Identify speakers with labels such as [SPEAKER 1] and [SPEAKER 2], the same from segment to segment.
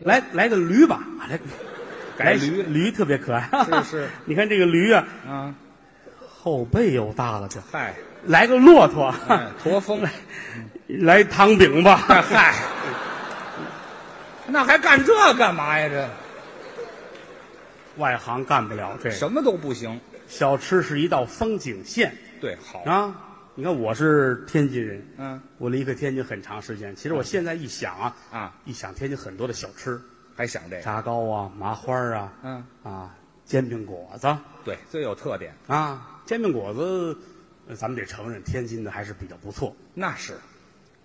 [SPEAKER 1] 来来个驴吧，啊来
[SPEAKER 2] 改
[SPEAKER 1] 来
[SPEAKER 2] 驴
[SPEAKER 1] 驴特别可爱。
[SPEAKER 2] 是是，
[SPEAKER 1] 你看这个驴啊，
[SPEAKER 2] 啊，
[SPEAKER 1] 后背又大了点儿，
[SPEAKER 2] 嗨，
[SPEAKER 1] 来个骆驼，
[SPEAKER 2] 哎驼峰，哎
[SPEAKER 1] 来糖饼 吧。
[SPEAKER 2] 嗨，那还干这干嘛呀？这
[SPEAKER 1] 外行干不了这个，
[SPEAKER 2] 什么都不行。
[SPEAKER 1] 小吃是一道风景线
[SPEAKER 2] 对，好，
[SPEAKER 1] 啊。你看我是天津人，
[SPEAKER 2] 哦嗯，
[SPEAKER 1] 我离开天津很长时间。其实我现在一想啊，
[SPEAKER 2] 啊，
[SPEAKER 1] 一想天津很多的小吃，
[SPEAKER 2] 还想这个，
[SPEAKER 1] 炸糕啊，麻花啊，
[SPEAKER 2] 嗯，
[SPEAKER 1] 啊，煎饼果子
[SPEAKER 2] 对，最有特点，
[SPEAKER 1] 啊，煎饼果子，呃咱们得承认天津的还是比较不错。
[SPEAKER 2] 那是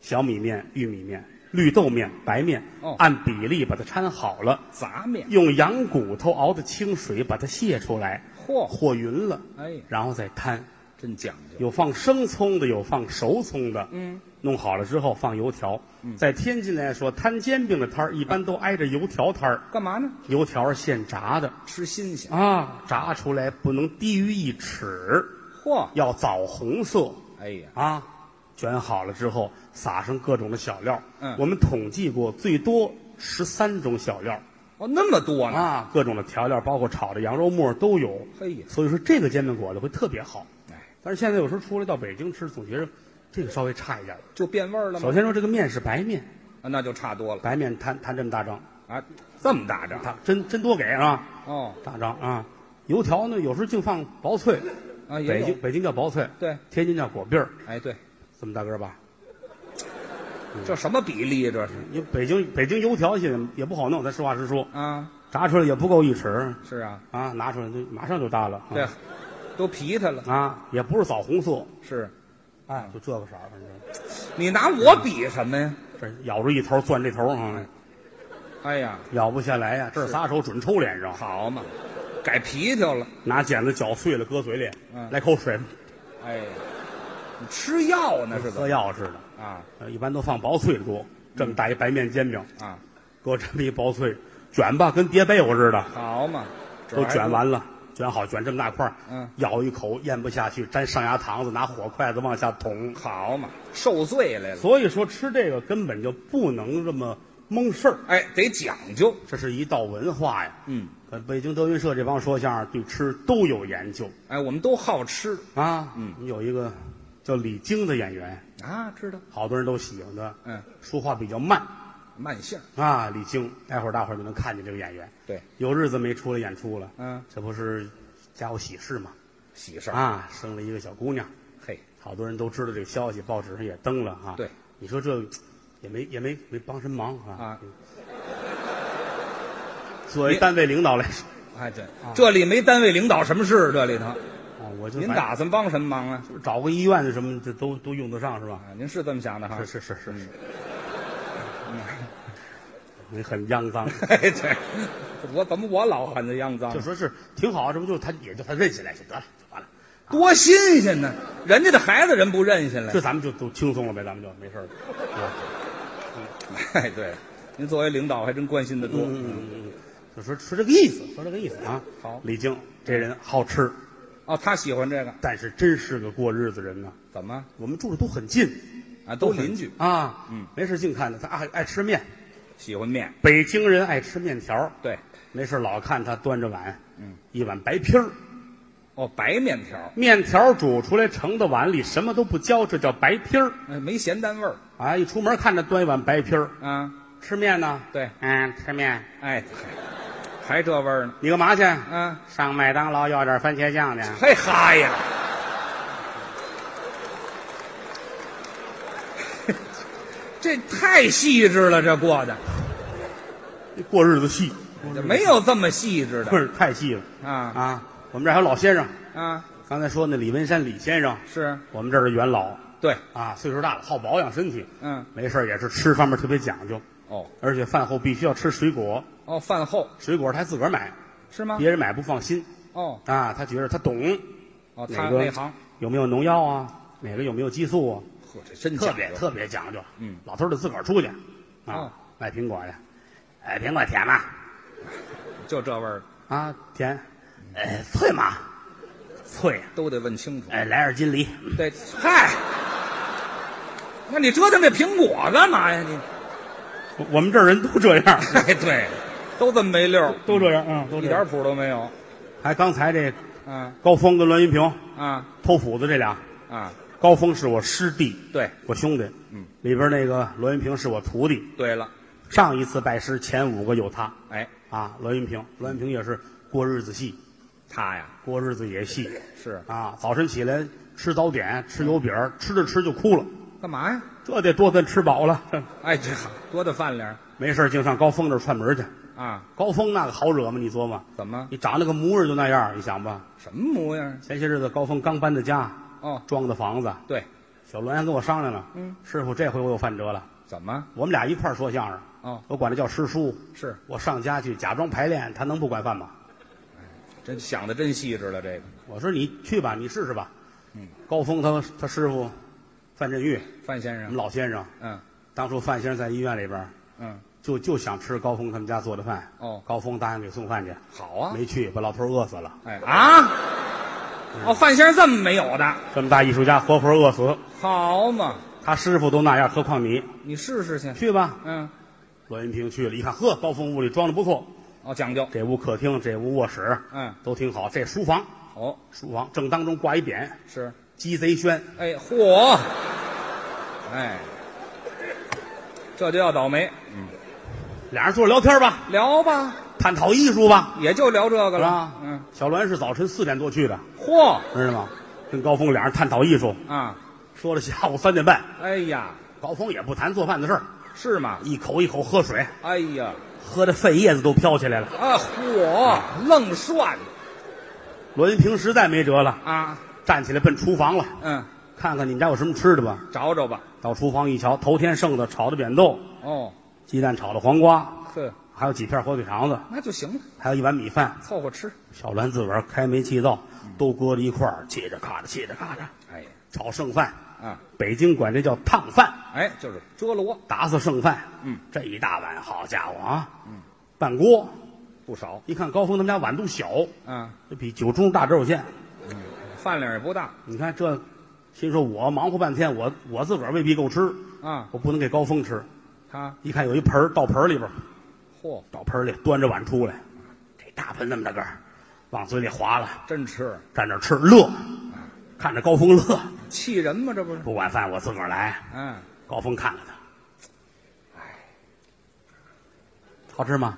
[SPEAKER 1] 小米面、玉米面、绿豆面、白面，
[SPEAKER 2] 哦
[SPEAKER 1] 按比例把它掺好了，
[SPEAKER 2] 杂面。
[SPEAKER 1] 用羊骨头熬的清水把它卸出来，
[SPEAKER 2] 嚯，
[SPEAKER 1] 和匀了，
[SPEAKER 2] 哦哎，
[SPEAKER 1] 然后再摊。
[SPEAKER 2] 真讲究。
[SPEAKER 1] 有放生葱的，有放熟葱的。
[SPEAKER 2] 嗯，
[SPEAKER 1] 弄好了之后放油条。在天津来说，摊煎饼的摊儿一般都挨着油条摊儿，
[SPEAKER 2] 干嘛呢？
[SPEAKER 1] 油条是现炸的
[SPEAKER 2] 吃新鲜。
[SPEAKER 1] 啊，炸出来不能低于一尺，
[SPEAKER 2] 嚯，
[SPEAKER 1] 要枣红色
[SPEAKER 2] 哎呀，
[SPEAKER 1] 啊。卷好了之后，撒上各种的小料。
[SPEAKER 2] 嗯
[SPEAKER 1] 我们统计过，最多十三种小料
[SPEAKER 2] 哦，那么多呢。
[SPEAKER 1] 啊，各种的调料，包括炒的羊肉末都有。
[SPEAKER 2] 嘿呀，
[SPEAKER 1] 所以说，这个煎饼果子会特别好。
[SPEAKER 2] 嗯哎，
[SPEAKER 1] 但是现在有时候出来到北京吃，总觉得这个稍微差一点儿。
[SPEAKER 2] 就变味儿了
[SPEAKER 1] 首
[SPEAKER 2] 吗？
[SPEAKER 1] 先说这个面是白面，
[SPEAKER 2] 啊那就差多了
[SPEAKER 1] 白面摊摊这么大张，
[SPEAKER 2] 啊，这么大张。
[SPEAKER 1] 大真真多给啊，
[SPEAKER 2] 哦，
[SPEAKER 1] 大张啊。油条呢，有时候净放薄脆，
[SPEAKER 2] 啊，也
[SPEAKER 1] 北
[SPEAKER 2] 有
[SPEAKER 1] 京北京叫薄脆，
[SPEAKER 2] 对，
[SPEAKER 1] 天津叫果篦儿，
[SPEAKER 2] 哎对，
[SPEAKER 1] 这么大个儿吧？
[SPEAKER 2] 这什么比例这是
[SPEAKER 1] 因为北京北京油条现在也不好弄，咱实话实说，
[SPEAKER 2] 啊？
[SPEAKER 1] 炸出来也不够一尺
[SPEAKER 2] 是啊，
[SPEAKER 1] 啊，拿出来就马上就大了啊
[SPEAKER 2] 对，都皮它了。
[SPEAKER 1] 啊，也不是枣红色，
[SPEAKER 2] 是，啊
[SPEAKER 1] 哎，就这个色儿，反正
[SPEAKER 2] 你拿我比什么呀？
[SPEAKER 1] 这咬住一头攥这头啊，
[SPEAKER 2] 哎呀，
[SPEAKER 1] 咬不下来呀、这
[SPEAKER 2] 嗯是
[SPEAKER 1] 撒手准抽脸上，
[SPEAKER 2] 好嘛，改皮条了。
[SPEAKER 1] 拿剪子绞碎了搁嘴里，
[SPEAKER 2] 嗯
[SPEAKER 1] 来口水，
[SPEAKER 2] 哎呀，你吃药呢是嗯吧？
[SPEAKER 1] 喝药似的。
[SPEAKER 2] 啊
[SPEAKER 1] 呃，一般都放薄脆的多，这么大一白面煎饼，
[SPEAKER 2] 啊，
[SPEAKER 1] 搁这么一薄脆，卷吧，跟叠被窝似的，
[SPEAKER 2] 好嘛，
[SPEAKER 1] 都
[SPEAKER 2] 还
[SPEAKER 1] 卷完了，卷好，卷这么大块儿，
[SPEAKER 2] 嗯
[SPEAKER 1] 咬一口咽不下去，沾上牙膛子，拿火筷子往下捅。
[SPEAKER 2] 好嘛，受罪来了。
[SPEAKER 1] 所以说吃这个根本就不能这么蒙事儿，
[SPEAKER 2] 哎，得讲究。
[SPEAKER 1] 这是一道文化呀。
[SPEAKER 2] 嗯，
[SPEAKER 1] 呃，北京德云社这帮说相声对吃都有研究
[SPEAKER 2] 哎，我们都好吃
[SPEAKER 1] 啊。
[SPEAKER 2] 嗯，
[SPEAKER 1] 有一个叫李菁的演员，
[SPEAKER 2] 啊，知道。
[SPEAKER 1] 好多人都喜欢他，
[SPEAKER 2] 嗯，
[SPEAKER 1] 说话比较慢
[SPEAKER 2] 慢性儿。
[SPEAKER 1] 啊。李菁，待会儿大伙儿就能看见这个演员。
[SPEAKER 2] 对，
[SPEAKER 1] 有日子没出来演出了，
[SPEAKER 2] 嗯，
[SPEAKER 1] 这不是家有喜事嘛？
[SPEAKER 2] 喜事儿。
[SPEAKER 1] 啊，生了一个小姑娘，
[SPEAKER 2] 嘿，
[SPEAKER 1] 好多人都知道这个消息，报纸上也登了啊。
[SPEAKER 2] 对，
[SPEAKER 1] 你说这也没也没没帮什么忙啊
[SPEAKER 2] 啊。
[SPEAKER 1] 作为单位领导来说，
[SPEAKER 2] 哎，对，这里没单位领导什么事，这里头
[SPEAKER 1] 啊，我就
[SPEAKER 2] 您
[SPEAKER 1] 反
[SPEAKER 2] 打算帮什么忙啊？
[SPEAKER 1] 找个医院什么的都都用得上是吧？
[SPEAKER 2] 啊，您是这么想的哈？
[SPEAKER 1] 是是是是
[SPEAKER 2] 嗯
[SPEAKER 1] 是，你很肮脏，
[SPEAKER 2] 哎，对，我怎么我老喊他肮 脏
[SPEAKER 1] 就？说是挺好，这不就他也就他认下来就得了，就完了，
[SPEAKER 2] 多新鲜呢！人家的孩子人不认下来
[SPEAKER 1] 这。咱们就都轻松了呗，咱们就没事了。是吧
[SPEAKER 2] 哎，对，您作为领导还真关心的多。
[SPEAKER 1] 嗯，嗯，就说说这个意思，说这个意思啊。
[SPEAKER 2] 好
[SPEAKER 1] 李菁这人好吃，
[SPEAKER 2] 哦，他喜欢这个，
[SPEAKER 1] 但是真是个过日子人呐。
[SPEAKER 2] 怎么
[SPEAKER 1] 我们住的都很近，
[SPEAKER 2] 啊？都
[SPEAKER 1] 很
[SPEAKER 2] 邻居
[SPEAKER 1] 啊，
[SPEAKER 2] 嗯，
[SPEAKER 1] 没事净看他，他爱爱吃面，
[SPEAKER 2] 喜欢面，
[SPEAKER 1] 北京人爱吃面条，
[SPEAKER 2] 对，
[SPEAKER 1] 没事老看他端着碗，
[SPEAKER 2] 嗯，
[SPEAKER 1] 一碗白皮儿，
[SPEAKER 2] 哦，白面条，
[SPEAKER 1] 面条煮出来盛到碗里，什么都不浇，这叫白皮儿
[SPEAKER 2] 哎，没咸淡味儿
[SPEAKER 1] 啊！一出门看着端一碗白皮儿，
[SPEAKER 2] 啊。
[SPEAKER 1] 吃面呢？
[SPEAKER 2] 对，
[SPEAKER 1] 嗯，吃面，
[SPEAKER 2] 哎，还这味儿呢
[SPEAKER 1] 你干嘛去？
[SPEAKER 2] 啊？
[SPEAKER 1] 上麦当劳要点番茄酱去。
[SPEAKER 2] 嘿哈呀！ 这太细致了，这过的
[SPEAKER 1] 过日子细，
[SPEAKER 2] 没有这么细致的
[SPEAKER 1] 不是太细了。
[SPEAKER 2] 啊
[SPEAKER 1] 啊，我们这儿还有老先生，
[SPEAKER 2] 啊！
[SPEAKER 1] 刚才说那李文山李先生，
[SPEAKER 2] 是
[SPEAKER 1] 我们这儿的元老
[SPEAKER 2] 对，
[SPEAKER 1] 啊，岁数大了，好保养身体，
[SPEAKER 2] 嗯，
[SPEAKER 1] 没事儿也是吃方面特别讲究，
[SPEAKER 2] 哦
[SPEAKER 1] 而且饭后必须要吃水果，
[SPEAKER 2] 哦，饭后
[SPEAKER 1] 水果他还自个儿买，
[SPEAKER 2] 是吗？
[SPEAKER 1] 别人买不放心
[SPEAKER 2] 哦
[SPEAKER 1] 啊，他觉得他懂
[SPEAKER 2] 哦，他
[SPEAKER 1] 哪个
[SPEAKER 2] 内行，
[SPEAKER 1] 有没有农药啊，哪个有没有激素啊，
[SPEAKER 2] 呵，这真
[SPEAKER 1] 特
[SPEAKER 2] 讲
[SPEAKER 1] 别
[SPEAKER 2] 究
[SPEAKER 1] 特别讲究。
[SPEAKER 2] 嗯，
[SPEAKER 1] 老头儿得自个儿出去
[SPEAKER 2] 哦
[SPEAKER 1] 啊，买苹果去，哎，苹果甜吗？
[SPEAKER 2] 就这味儿
[SPEAKER 1] 啊，甜，哎，脆吗？脆呀，
[SPEAKER 2] 都得问清楚。
[SPEAKER 1] 哎，来点金梨。
[SPEAKER 2] 对，嗨，那你折腾这苹果干嘛呀？你
[SPEAKER 1] 我我们这儿人都这样，
[SPEAKER 2] 哎，对， 都这么没溜儿，
[SPEAKER 1] 都这样，嗯，都
[SPEAKER 2] 一
[SPEAKER 1] 这
[SPEAKER 2] 点
[SPEAKER 1] 样。
[SPEAKER 2] 谱都没有。
[SPEAKER 1] 还刚才这
[SPEAKER 2] 啊
[SPEAKER 1] 高峰跟栾云平
[SPEAKER 2] 啊
[SPEAKER 1] 偷斧子这俩，
[SPEAKER 2] 啊！
[SPEAKER 1] 高峰是我师弟，
[SPEAKER 2] 对，
[SPEAKER 1] 我兄弟，
[SPEAKER 2] 嗯，
[SPEAKER 1] 里边那个栾云平是我徒弟。
[SPEAKER 2] 对了，
[SPEAKER 1] 上一次拜师前五个有他
[SPEAKER 2] 哎，
[SPEAKER 1] 啊，栾云平，栾云平也是过日子细，
[SPEAKER 2] 他呀
[SPEAKER 1] 过日子也细
[SPEAKER 2] 是
[SPEAKER 1] 啊。早晨起来吃早点，吃油饼，吃着吃就哭了，
[SPEAKER 2] 干嘛呀？
[SPEAKER 1] 这得多顿吃饱了。
[SPEAKER 2] 哎，这好多大饭量
[SPEAKER 1] 没事儿净上高峰那儿串门去。
[SPEAKER 2] 啊？
[SPEAKER 1] 高峰那个好惹吗？你琢磨，
[SPEAKER 2] 怎么
[SPEAKER 1] 你长那个模样就那样，你想吧。
[SPEAKER 2] 什么模样？
[SPEAKER 1] 前些日子高峰刚搬的家，
[SPEAKER 2] 哦，
[SPEAKER 1] 装的房子，
[SPEAKER 2] 对，
[SPEAKER 1] 小栾还跟我商量了，
[SPEAKER 2] 嗯，
[SPEAKER 1] 师傅，这回我有饭辙了。
[SPEAKER 2] 怎么？
[SPEAKER 1] 我们俩一块儿说相声，
[SPEAKER 2] 哦，
[SPEAKER 1] 我管他叫师叔。
[SPEAKER 2] 是
[SPEAKER 1] 我上家去假装排练，他能不管饭吗？
[SPEAKER 2] 真想的真细致了，这个
[SPEAKER 1] 我说你去吧，你试试吧。
[SPEAKER 2] 嗯，
[SPEAKER 1] 高峰他他师傅范振钰，
[SPEAKER 2] 范先
[SPEAKER 1] 我们
[SPEAKER 2] 生。
[SPEAKER 1] 老先生，
[SPEAKER 2] 嗯
[SPEAKER 1] 当初范先生在医院里边儿
[SPEAKER 2] 嗯，
[SPEAKER 1] 就就想吃高峰他们家做的饭，
[SPEAKER 2] 哦，
[SPEAKER 1] 高峰答应给送饭去，
[SPEAKER 2] 好啊。
[SPEAKER 1] 没去，把老头儿饿死了。
[SPEAKER 2] 哎啊，哦，范先生这么没有的，
[SPEAKER 1] 这么大艺术家，活活饿死，
[SPEAKER 2] 好嘛，
[SPEAKER 1] 他师傅都那样，何况你？
[SPEAKER 2] 你试试去。
[SPEAKER 1] 去吧。
[SPEAKER 2] 嗯，
[SPEAKER 1] 栾云平去了，一看，呵，高峰屋里装的不错，
[SPEAKER 2] 哦，讲究。
[SPEAKER 1] 这屋客厅，这屋卧室，
[SPEAKER 2] 嗯，
[SPEAKER 1] 都挺好。这书房，
[SPEAKER 2] 好
[SPEAKER 1] 书房正当中挂一匾
[SPEAKER 2] 是。
[SPEAKER 1] “鸡贼轩
[SPEAKER 2] 哎，嚯！哎，这就要倒霉。”，
[SPEAKER 1] 俩人坐着聊天吧，
[SPEAKER 2] 聊吧，
[SPEAKER 1] 探讨艺术吧。
[SPEAKER 2] 也就聊这个了。
[SPEAKER 1] 啊
[SPEAKER 2] 嗯，
[SPEAKER 1] 小栾是早晨四点多去的，
[SPEAKER 2] 嚯
[SPEAKER 1] 知道吗？跟高峰俩人探讨艺术，
[SPEAKER 2] 啊！
[SPEAKER 1] 说了下午三点半。
[SPEAKER 2] 哎呀，
[SPEAKER 1] 高峰也不谈做饭的事儿，
[SPEAKER 2] 是吗？
[SPEAKER 1] 一口一口喝水，
[SPEAKER 2] 哎呀，
[SPEAKER 1] 喝的肺叶子都飘起来了。
[SPEAKER 2] 啊嚯，愣涮
[SPEAKER 1] 栾云平实在没辙了，
[SPEAKER 2] 啊！
[SPEAKER 1] 站起来奔厨房了，
[SPEAKER 2] 嗯，
[SPEAKER 1] 看看你们家有什么吃的吧。
[SPEAKER 2] 找找吧。
[SPEAKER 1] 到厨房一瞧，头天剩的炒的扁豆，
[SPEAKER 2] 哦，
[SPEAKER 1] 鸡蛋炒的黄瓜，
[SPEAKER 2] 呵，
[SPEAKER 1] 还有几片火腿肠子，
[SPEAKER 2] 那就行了，
[SPEAKER 1] 还有一碗米饭。
[SPEAKER 2] 凑合吃。
[SPEAKER 1] 小栾自个儿开煤气灶，都搁在一块儿，切着咔着，切着咔着，
[SPEAKER 2] 哎呀，
[SPEAKER 1] 炒剩饭。
[SPEAKER 2] 啊，
[SPEAKER 1] 北京管这叫烫饭，
[SPEAKER 2] 哎，就是遮罗
[SPEAKER 1] 打死剩饭。
[SPEAKER 2] 嗯，
[SPEAKER 1] 这一大碗，好家伙啊！嗯，半锅。
[SPEAKER 2] 不少
[SPEAKER 1] 一看高峰他们家碗都小，
[SPEAKER 2] 啊，
[SPEAKER 1] 这比九中大只有限。
[SPEAKER 2] 饭量也不大
[SPEAKER 1] 你看这，心说我忙活半天，我我自个儿未必够吃，
[SPEAKER 2] 啊。
[SPEAKER 1] 我不能给高峰吃。
[SPEAKER 2] 他
[SPEAKER 1] 一看有一盆儿，到盆儿里边儿，
[SPEAKER 2] 嚯，
[SPEAKER 1] 到盆儿里端着碗出来，这大盆那么大个儿，往嘴里划了，
[SPEAKER 2] 真吃，
[SPEAKER 1] 站那儿吃乐，看着高峰乐。
[SPEAKER 2] 气人吗？这不是？
[SPEAKER 1] 不管饭我自个儿来。
[SPEAKER 2] 嗯，
[SPEAKER 1] 高峰看看他，好吃吗？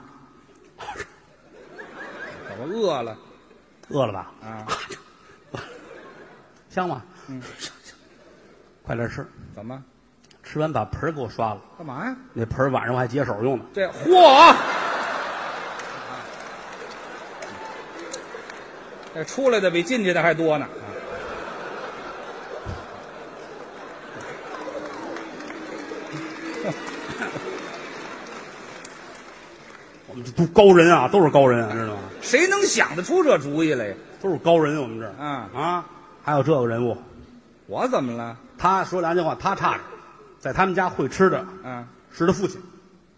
[SPEAKER 2] 怎么饿了
[SPEAKER 1] 饿了吧？
[SPEAKER 2] 啊？
[SPEAKER 1] 香吗？嗯， 快点吃，
[SPEAKER 2] 怎么？
[SPEAKER 1] 吃完把盆儿给我刷了。
[SPEAKER 2] 干嘛呀？
[SPEAKER 1] 那盆儿晚上我还解手用呢。
[SPEAKER 2] 这嚯！啊这出来的比进去的还多呢。啊
[SPEAKER 1] 我们这都高人啊，都是高人、啊，知道吗？
[SPEAKER 2] 谁能想得出这主意来呀？
[SPEAKER 1] 都是高人，我们这儿
[SPEAKER 2] 啊
[SPEAKER 1] 啊，还有这个人物，
[SPEAKER 2] 我怎么了？
[SPEAKER 1] 他说良心话，他差着，在他们家会吃的
[SPEAKER 2] 啊，
[SPEAKER 1] 是他父亲。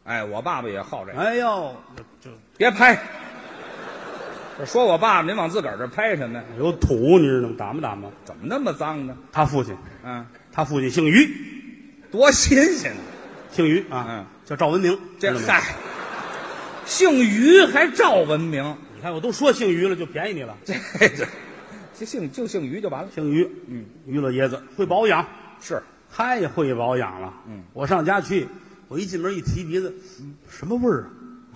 [SPEAKER 2] 哎，我爸爸也好这个。
[SPEAKER 1] 哎呦，就就
[SPEAKER 2] 别拍，这说我爸爸，您往自个儿这拍什么呀？
[SPEAKER 1] 有土，你知道吗？打吗打吗？
[SPEAKER 2] 怎么那么脏呢？
[SPEAKER 1] 他父亲，
[SPEAKER 2] 啊，
[SPEAKER 1] 他父亲姓于，
[SPEAKER 2] 多新鲜呢！
[SPEAKER 1] 姓于啊，
[SPEAKER 2] 嗯
[SPEAKER 1] 叫赵文明。
[SPEAKER 2] 这
[SPEAKER 1] 知道吗
[SPEAKER 2] 嗨，姓于还赵文明，
[SPEAKER 1] 你看我都说姓于了，就便宜你了。
[SPEAKER 2] 这这这姓就姓于就完了。
[SPEAKER 1] 姓于，
[SPEAKER 2] 嗯，
[SPEAKER 1] 于老爷子会保养，
[SPEAKER 2] 是
[SPEAKER 1] 太会保养了。
[SPEAKER 2] 嗯，
[SPEAKER 1] 我上家去，我一进门一提鼻子，什么味儿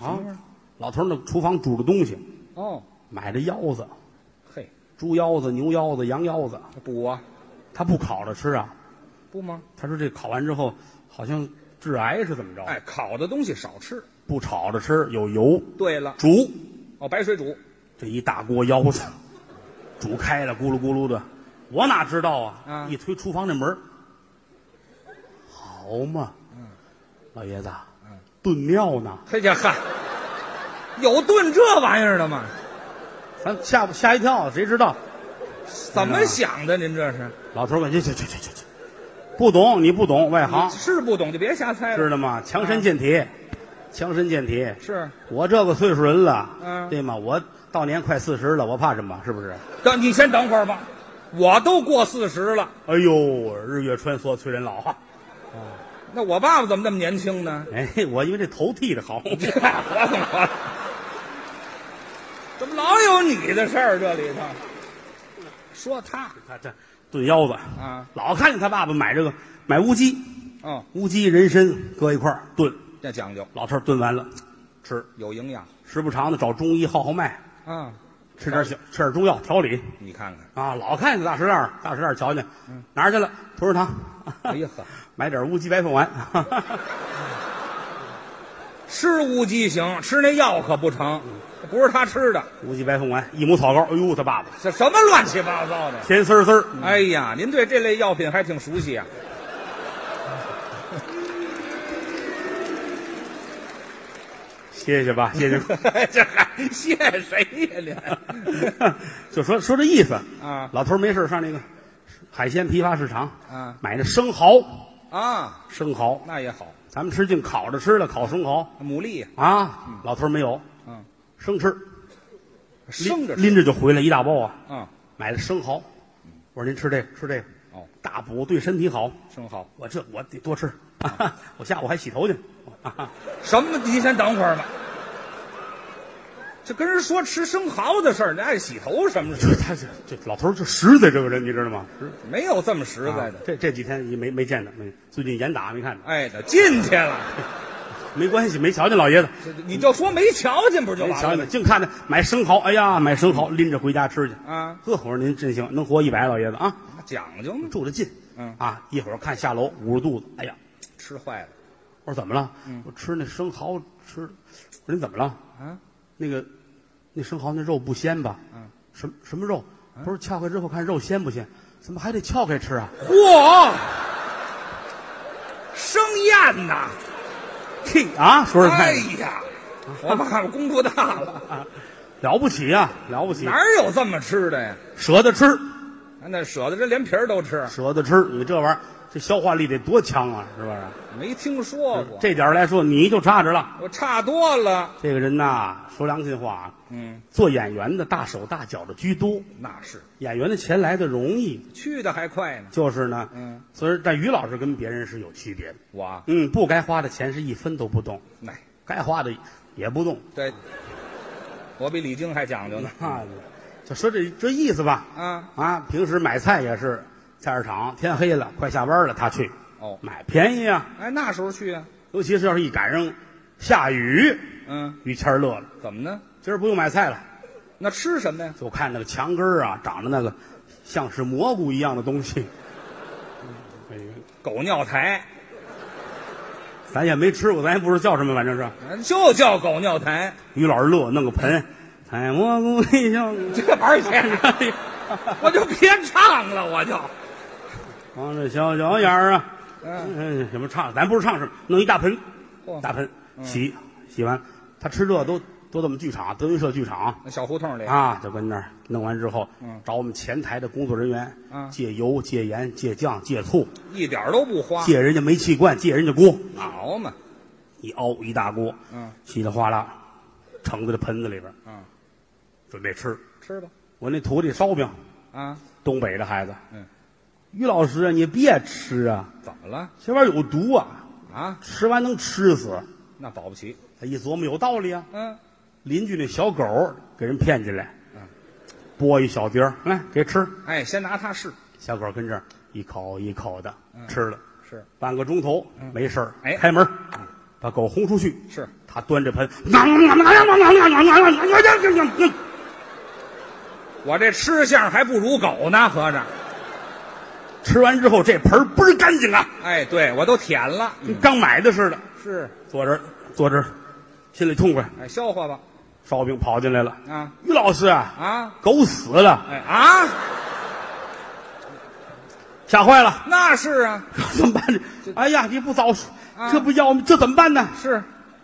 [SPEAKER 1] 啊？
[SPEAKER 2] 什么味儿
[SPEAKER 1] 啊，老头儿那厨房煮的东西，
[SPEAKER 2] 哦，
[SPEAKER 1] 买的腰子，
[SPEAKER 2] 嘿，
[SPEAKER 1] 猪腰子、牛腰子、羊腰子，
[SPEAKER 2] 补啊，
[SPEAKER 1] 他不烤着吃啊。
[SPEAKER 2] 不吗？
[SPEAKER 1] 他说这烤完之后好像致癌是怎么着？
[SPEAKER 2] 哎，烤的东西少吃。
[SPEAKER 1] 不炒着吃，有油
[SPEAKER 2] 对了，
[SPEAKER 1] 煮，
[SPEAKER 2] 哦，白水煮
[SPEAKER 1] 这一大锅腰子煮开了，咕噜咕噜的，我哪知道啊？
[SPEAKER 2] 啊
[SPEAKER 1] 一推厨房这门儿，好嘛，
[SPEAKER 2] 嗯
[SPEAKER 1] 老爷子，炖庙呢？
[SPEAKER 2] 嘿呀嗨，有炖这玩意儿的吗？
[SPEAKER 1] 咱吓不吓一跳？谁知道？
[SPEAKER 2] 怎么想的？您这是
[SPEAKER 1] 老头儿问：“去去去去去去，不懂你不懂外行，
[SPEAKER 2] 是不懂就别瞎猜了。
[SPEAKER 1] 知道吗？强
[SPEAKER 2] 嗯
[SPEAKER 1] 身健体，强身健体。
[SPEAKER 2] 是，
[SPEAKER 1] 我这个岁数人了，
[SPEAKER 2] 嗯
[SPEAKER 1] 对吗？我到年快四十了，我怕什么？是不是？
[SPEAKER 2] 等你先等会儿吧，我都过四十了，
[SPEAKER 1] 哎呦，日月穿梭催人老啊！
[SPEAKER 2] 那我爸爸怎么那么年轻呢？
[SPEAKER 1] 哎，我因为这头剃的 好，
[SPEAKER 2] 怎么老有你的事儿？这里头说他
[SPEAKER 1] 他这炖腰子，
[SPEAKER 2] 啊，
[SPEAKER 1] 老看见他爸爸买这个买乌鸡，
[SPEAKER 2] 哦，
[SPEAKER 1] 乌鸡人参搁一块儿炖，
[SPEAKER 2] 这讲究
[SPEAKER 1] 老头儿炖完了吃，
[SPEAKER 2] 有营养
[SPEAKER 1] 时不常的找中医号号脉，
[SPEAKER 2] 啊！
[SPEAKER 1] 吃点小吃点中药调理
[SPEAKER 2] 你看看，
[SPEAKER 1] 啊。老看见大石烂儿，大石烂儿瞧见，哪儿去了？同仁堂，
[SPEAKER 2] 嗯哎呀呵，
[SPEAKER 1] 买点乌鸡白凤丸，
[SPEAKER 2] 吃乌鸡行，吃那药可不成，不是他吃的，
[SPEAKER 1] 乌鸡白凤丸一亩草膏，哎呦，他爸爸
[SPEAKER 2] 这什么乱七八糟的！
[SPEAKER 1] 甜丝儿丝儿，
[SPEAKER 2] 哎呀，您对这类药品还挺熟悉啊。
[SPEAKER 1] 谢谢吧，谢谢。
[SPEAKER 2] 这还谢谁 呀您？
[SPEAKER 1] 就说说这意思
[SPEAKER 2] 啊
[SPEAKER 1] 老头儿没事儿上那个海鲜批发市场
[SPEAKER 2] 啊
[SPEAKER 1] 买那生蚝，
[SPEAKER 2] 啊，
[SPEAKER 1] 生蚝，
[SPEAKER 2] 那也好，
[SPEAKER 1] 咱们吃净烤着吃了，烤生蚝
[SPEAKER 2] 牡蛎，
[SPEAKER 1] 啊，老头儿没有
[SPEAKER 2] 嗯，
[SPEAKER 1] 生吃，
[SPEAKER 2] 生着吃
[SPEAKER 1] 拎着就回来一大包啊，
[SPEAKER 2] 啊，
[SPEAKER 1] 买的生蚝。我说您吃这个，吃这个
[SPEAKER 2] 哦，
[SPEAKER 1] 大补对身体好。
[SPEAKER 2] 生蚝。
[SPEAKER 1] 我这我得多吃，
[SPEAKER 2] 哦
[SPEAKER 1] 我下午还洗头去。
[SPEAKER 2] 什么？你先等会儿吧。这跟人说吃生蚝的事儿，你爱洗头什么事
[SPEAKER 1] 这他这这老头儿就实在这个人，你知道吗？实
[SPEAKER 2] 儿？没有这么实在的。
[SPEAKER 1] 这这几天也没没见他，没最近严打没看着，
[SPEAKER 2] 哎，那进去了，
[SPEAKER 1] 没关系，没瞧见老爷子，
[SPEAKER 2] 这你就说没瞧见，不是就
[SPEAKER 1] 没
[SPEAKER 2] 完
[SPEAKER 1] 瞧
[SPEAKER 2] 了
[SPEAKER 1] 见，
[SPEAKER 2] 吗？
[SPEAKER 1] 哎净看他买生蚝，哎呀，买生蚝拎着回家吃去。
[SPEAKER 2] 啊，
[SPEAKER 1] 呵，我说您真行，能活一百老爷子啊，
[SPEAKER 2] 讲究嘛，
[SPEAKER 1] 住得近，
[SPEAKER 2] 嗯
[SPEAKER 1] 啊，一会儿看下楼捂着肚子，哎呀，
[SPEAKER 2] 吃坏了
[SPEAKER 1] 我说怎么了？我吃那生蚝吃，我说您怎么了？
[SPEAKER 2] 嗯啊！
[SPEAKER 1] 那个那生蚝那肉不鲜吧？
[SPEAKER 2] 嗯，
[SPEAKER 1] 什么什么肉？不是撬开之后看肉鲜不鲜？怎么还得撬开吃啊？
[SPEAKER 2] 嚯，生厌呐！
[SPEAKER 1] 嘿啊，说实在
[SPEAKER 2] 哎
[SPEAKER 1] 的、
[SPEAKER 2] 呀，我爸爸功夫 大了，
[SPEAKER 1] 啊，了不起呀、了不起
[SPEAKER 2] 哪，儿有这么吃的呀？
[SPEAKER 1] 舍得吃，
[SPEAKER 2] 那舍得这连皮儿都吃，
[SPEAKER 1] 舍得吃，你这玩意儿这消化力得多强啊，是不是？
[SPEAKER 2] 没听说过，
[SPEAKER 1] 这点儿来说，你就差着了。
[SPEAKER 2] 我差多了。
[SPEAKER 1] 这个人呐，说良心话，
[SPEAKER 2] 嗯，
[SPEAKER 1] 做演员的大手大脚的居多，
[SPEAKER 2] 那是
[SPEAKER 1] 演员的钱来的容易，
[SPEAKER 2] 去的还快呢。
[SPEAKER 1] 就是呢，
[SPEAKER 2] 嗯，
[SPEAKER 1] 所以但于老师跟别人是有区别的，
[SPEAKER 2] 我啊
[SPEAKER 1] 嗯，不该花的钱是一分都不动，
[SPEAKER 2] 哎，
[SPEAKER 1] 该花的也不动，
[SPEAKER 2] 对，我比李菁还讲究呢。
[SPEAKER 1] 那就说这这意思吧，
[SPEAKER 2] 啊，
[SPEAKER 1] 啊，平时买菜也是菜市场，天黑了快下班了，他去
[SPEAKER 2] 哦，
[SPEAKER 1] 买便宜啊，
[SPEAKER 2] 哎，那时候去啊，
[SPEAKER 1] 尤其是要是一赶上下雨，
[SPEAKER 2] 嗯，
[SPEAKER 1] 于谦儿乐了，
[SPEAKER 2] 怎么呢？
[SPEAKER 1] 今儿不用买菜了，
[SPEAKER 2] 那吃什么呀？
[SPEAKER 1] 就看那个墙根儿啊长着那个像是蘑菇一样的东西，哎呦
[SPEAKER 2] 狗尿苔，
[SPEAKER 1] 咱也没吃过，咱也不知道叫什么，反正是
[SPEAKER 2] 嗯就叫狗尿苔，
[SPEAKER 1] 于老师乐，弄个盆，采蘑菇一笑。
[SPEAKER 2] 这玩意儿 去，我就别唱了，我 就，
[SPEAKER 1] 望着小脚眼儿啊，
[SPEAKER 2] 嗯，哦
[SPEAKER 1] 嗯，什么唱？咱不是唱什么，弄一大盆，
[SPEAKER 2] 嚯
[SPEAKER 1] 大盆
[SPEAKER 2] 嗯
[SPEAKER 1] 洗，洗完，他吃这都都这么剧场，德云社剧场
[SPEAKER 2] 那小胡同里，
[SPEAKER 1] 啊，就跟那儿弄完之后
[SPEAKER 2] 嗯，
[SPEAKER 1] 找我们前台的工作人员
[SPEAKER 2] 嗯，
[SPEAKER 1] 借油、借盐、借酱、借醋，
[SPEAKER 2] 一点儿都不花，
[SPEAKER 1] 借人家煤气罐，借人家锅，
[SPEAKER 2] 好嘛，
[SPEAKER 1] 一熬一大锅，
[SPEAKER 2] 嗯
[SPEAKER 1] 稀里哗啦，盛在这盆子里边，
[SPEAKER 2] 嗯，
[SPEAKER 1] 准备吃。
[SPEAKER 2] 吃吧，
[SPEAKER 1] 我那徒弟烧饼，
[SPEAKER 2] 啊，
[SPEAKER 1] 东北的孩子，
[SPEAKER 2] 嗯，
[SPEAKER 1] 于老师啊，你别吃啊，
[SPEAKER 2] 怎么了？
[SPEAKER 1] 这玩意儿有毒啊，
[SPEAKER 2] 啊，
[SPEAKER 1] 吃完能吃死。
[SPEAKER 2] 那保不齐，
[SPEAKER 1] 他一琢磨有道理啊，
[SPEAKER 2] 嗯，
[SPEAKER 1] 邻居那小狗给人骗进来
[SPEAKER 2] 嗯，
[SPEAKER 1] 剥一小碟儿来给吃，
[SPEAKER 2] 哎，先拿它试，
[SPEAKER 1] 小狗跟这儿一口一口的吃了，
[SPEAKER 2] 是
[SPEAKER 1] 半个钟头没事儿，
[SPEAKER 2] 嗯哎
[SPEAKER 1] 开门把狗轰出去，
[SPEAKER 2] 是，
[SPEAKER 1] 他端着盆， 哎
[SPEAKER 2] 我这吃相还不如狗呢，合着，
[SPEAKER 1] 吃完之后这盆儿倍儿干净啊，
[SPEAKER 2] 哎，对我都舔了，
[SPEAKER 1] 跟刚买的似的。
[SPEAKER 2] 是，
[SPEAKER 1] 坐这儿坐这儿，心里痛快。
[SPEAKER 2] 哎，消化吧，
[SPEAKER 1] 烧饼跑进来了，
[SPEAKER 2] 啊
[SPEAKER 1] 于老师啊，
[SPEAKER 2] 啊，
[SPEAKER 1] 狗死了，
[SPEAKER 2] 哎啊，
[SPEAKER 1] 吓坏了，
[SPEAKER 2] 那是啊，
[SPEAKER 1] 怎么办呢？哎呀，你不早说
[SPEAKER 2] 啊，
[SPEAKER 1] 这不要命，这怎么办呢？
[SPEAKER 2] 是，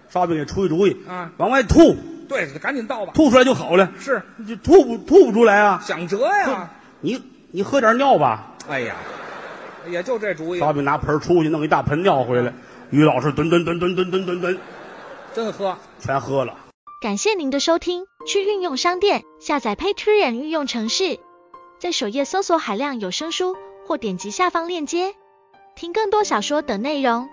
[SPEAKER 1] 烧饼给出一主意，
[SPEAKER 2] 啊
[SPEAKER 1] 往外吐，
[SPEAKER 2] 对，赶紧倒吧，
[SPEAKER 1] 吐出来就好了，
[SPEAKER 2] 是
[SPEAKER 1] 你就吐不吐不出来啊？
[SPEAKER 2] 想辙呀，
[SPEAKER 1] 你你喝点尿吧。
[SPEAKER 2] 哎呀，也就这主意，
[SPEAKER 1] 烧饼拿盆儿出去，弄一大盆尿回来，于老师吨吨吨吨吨吨吨吨
[SPEAKER 2] 真喝。
[SPEAKER 1] 全喝了。
[SPEAKER 3] 感谢您的收听，去运用商店下载 Patreon 运用城市，在首页搜索海量有声书，或点击下方链接听更多小说等内容。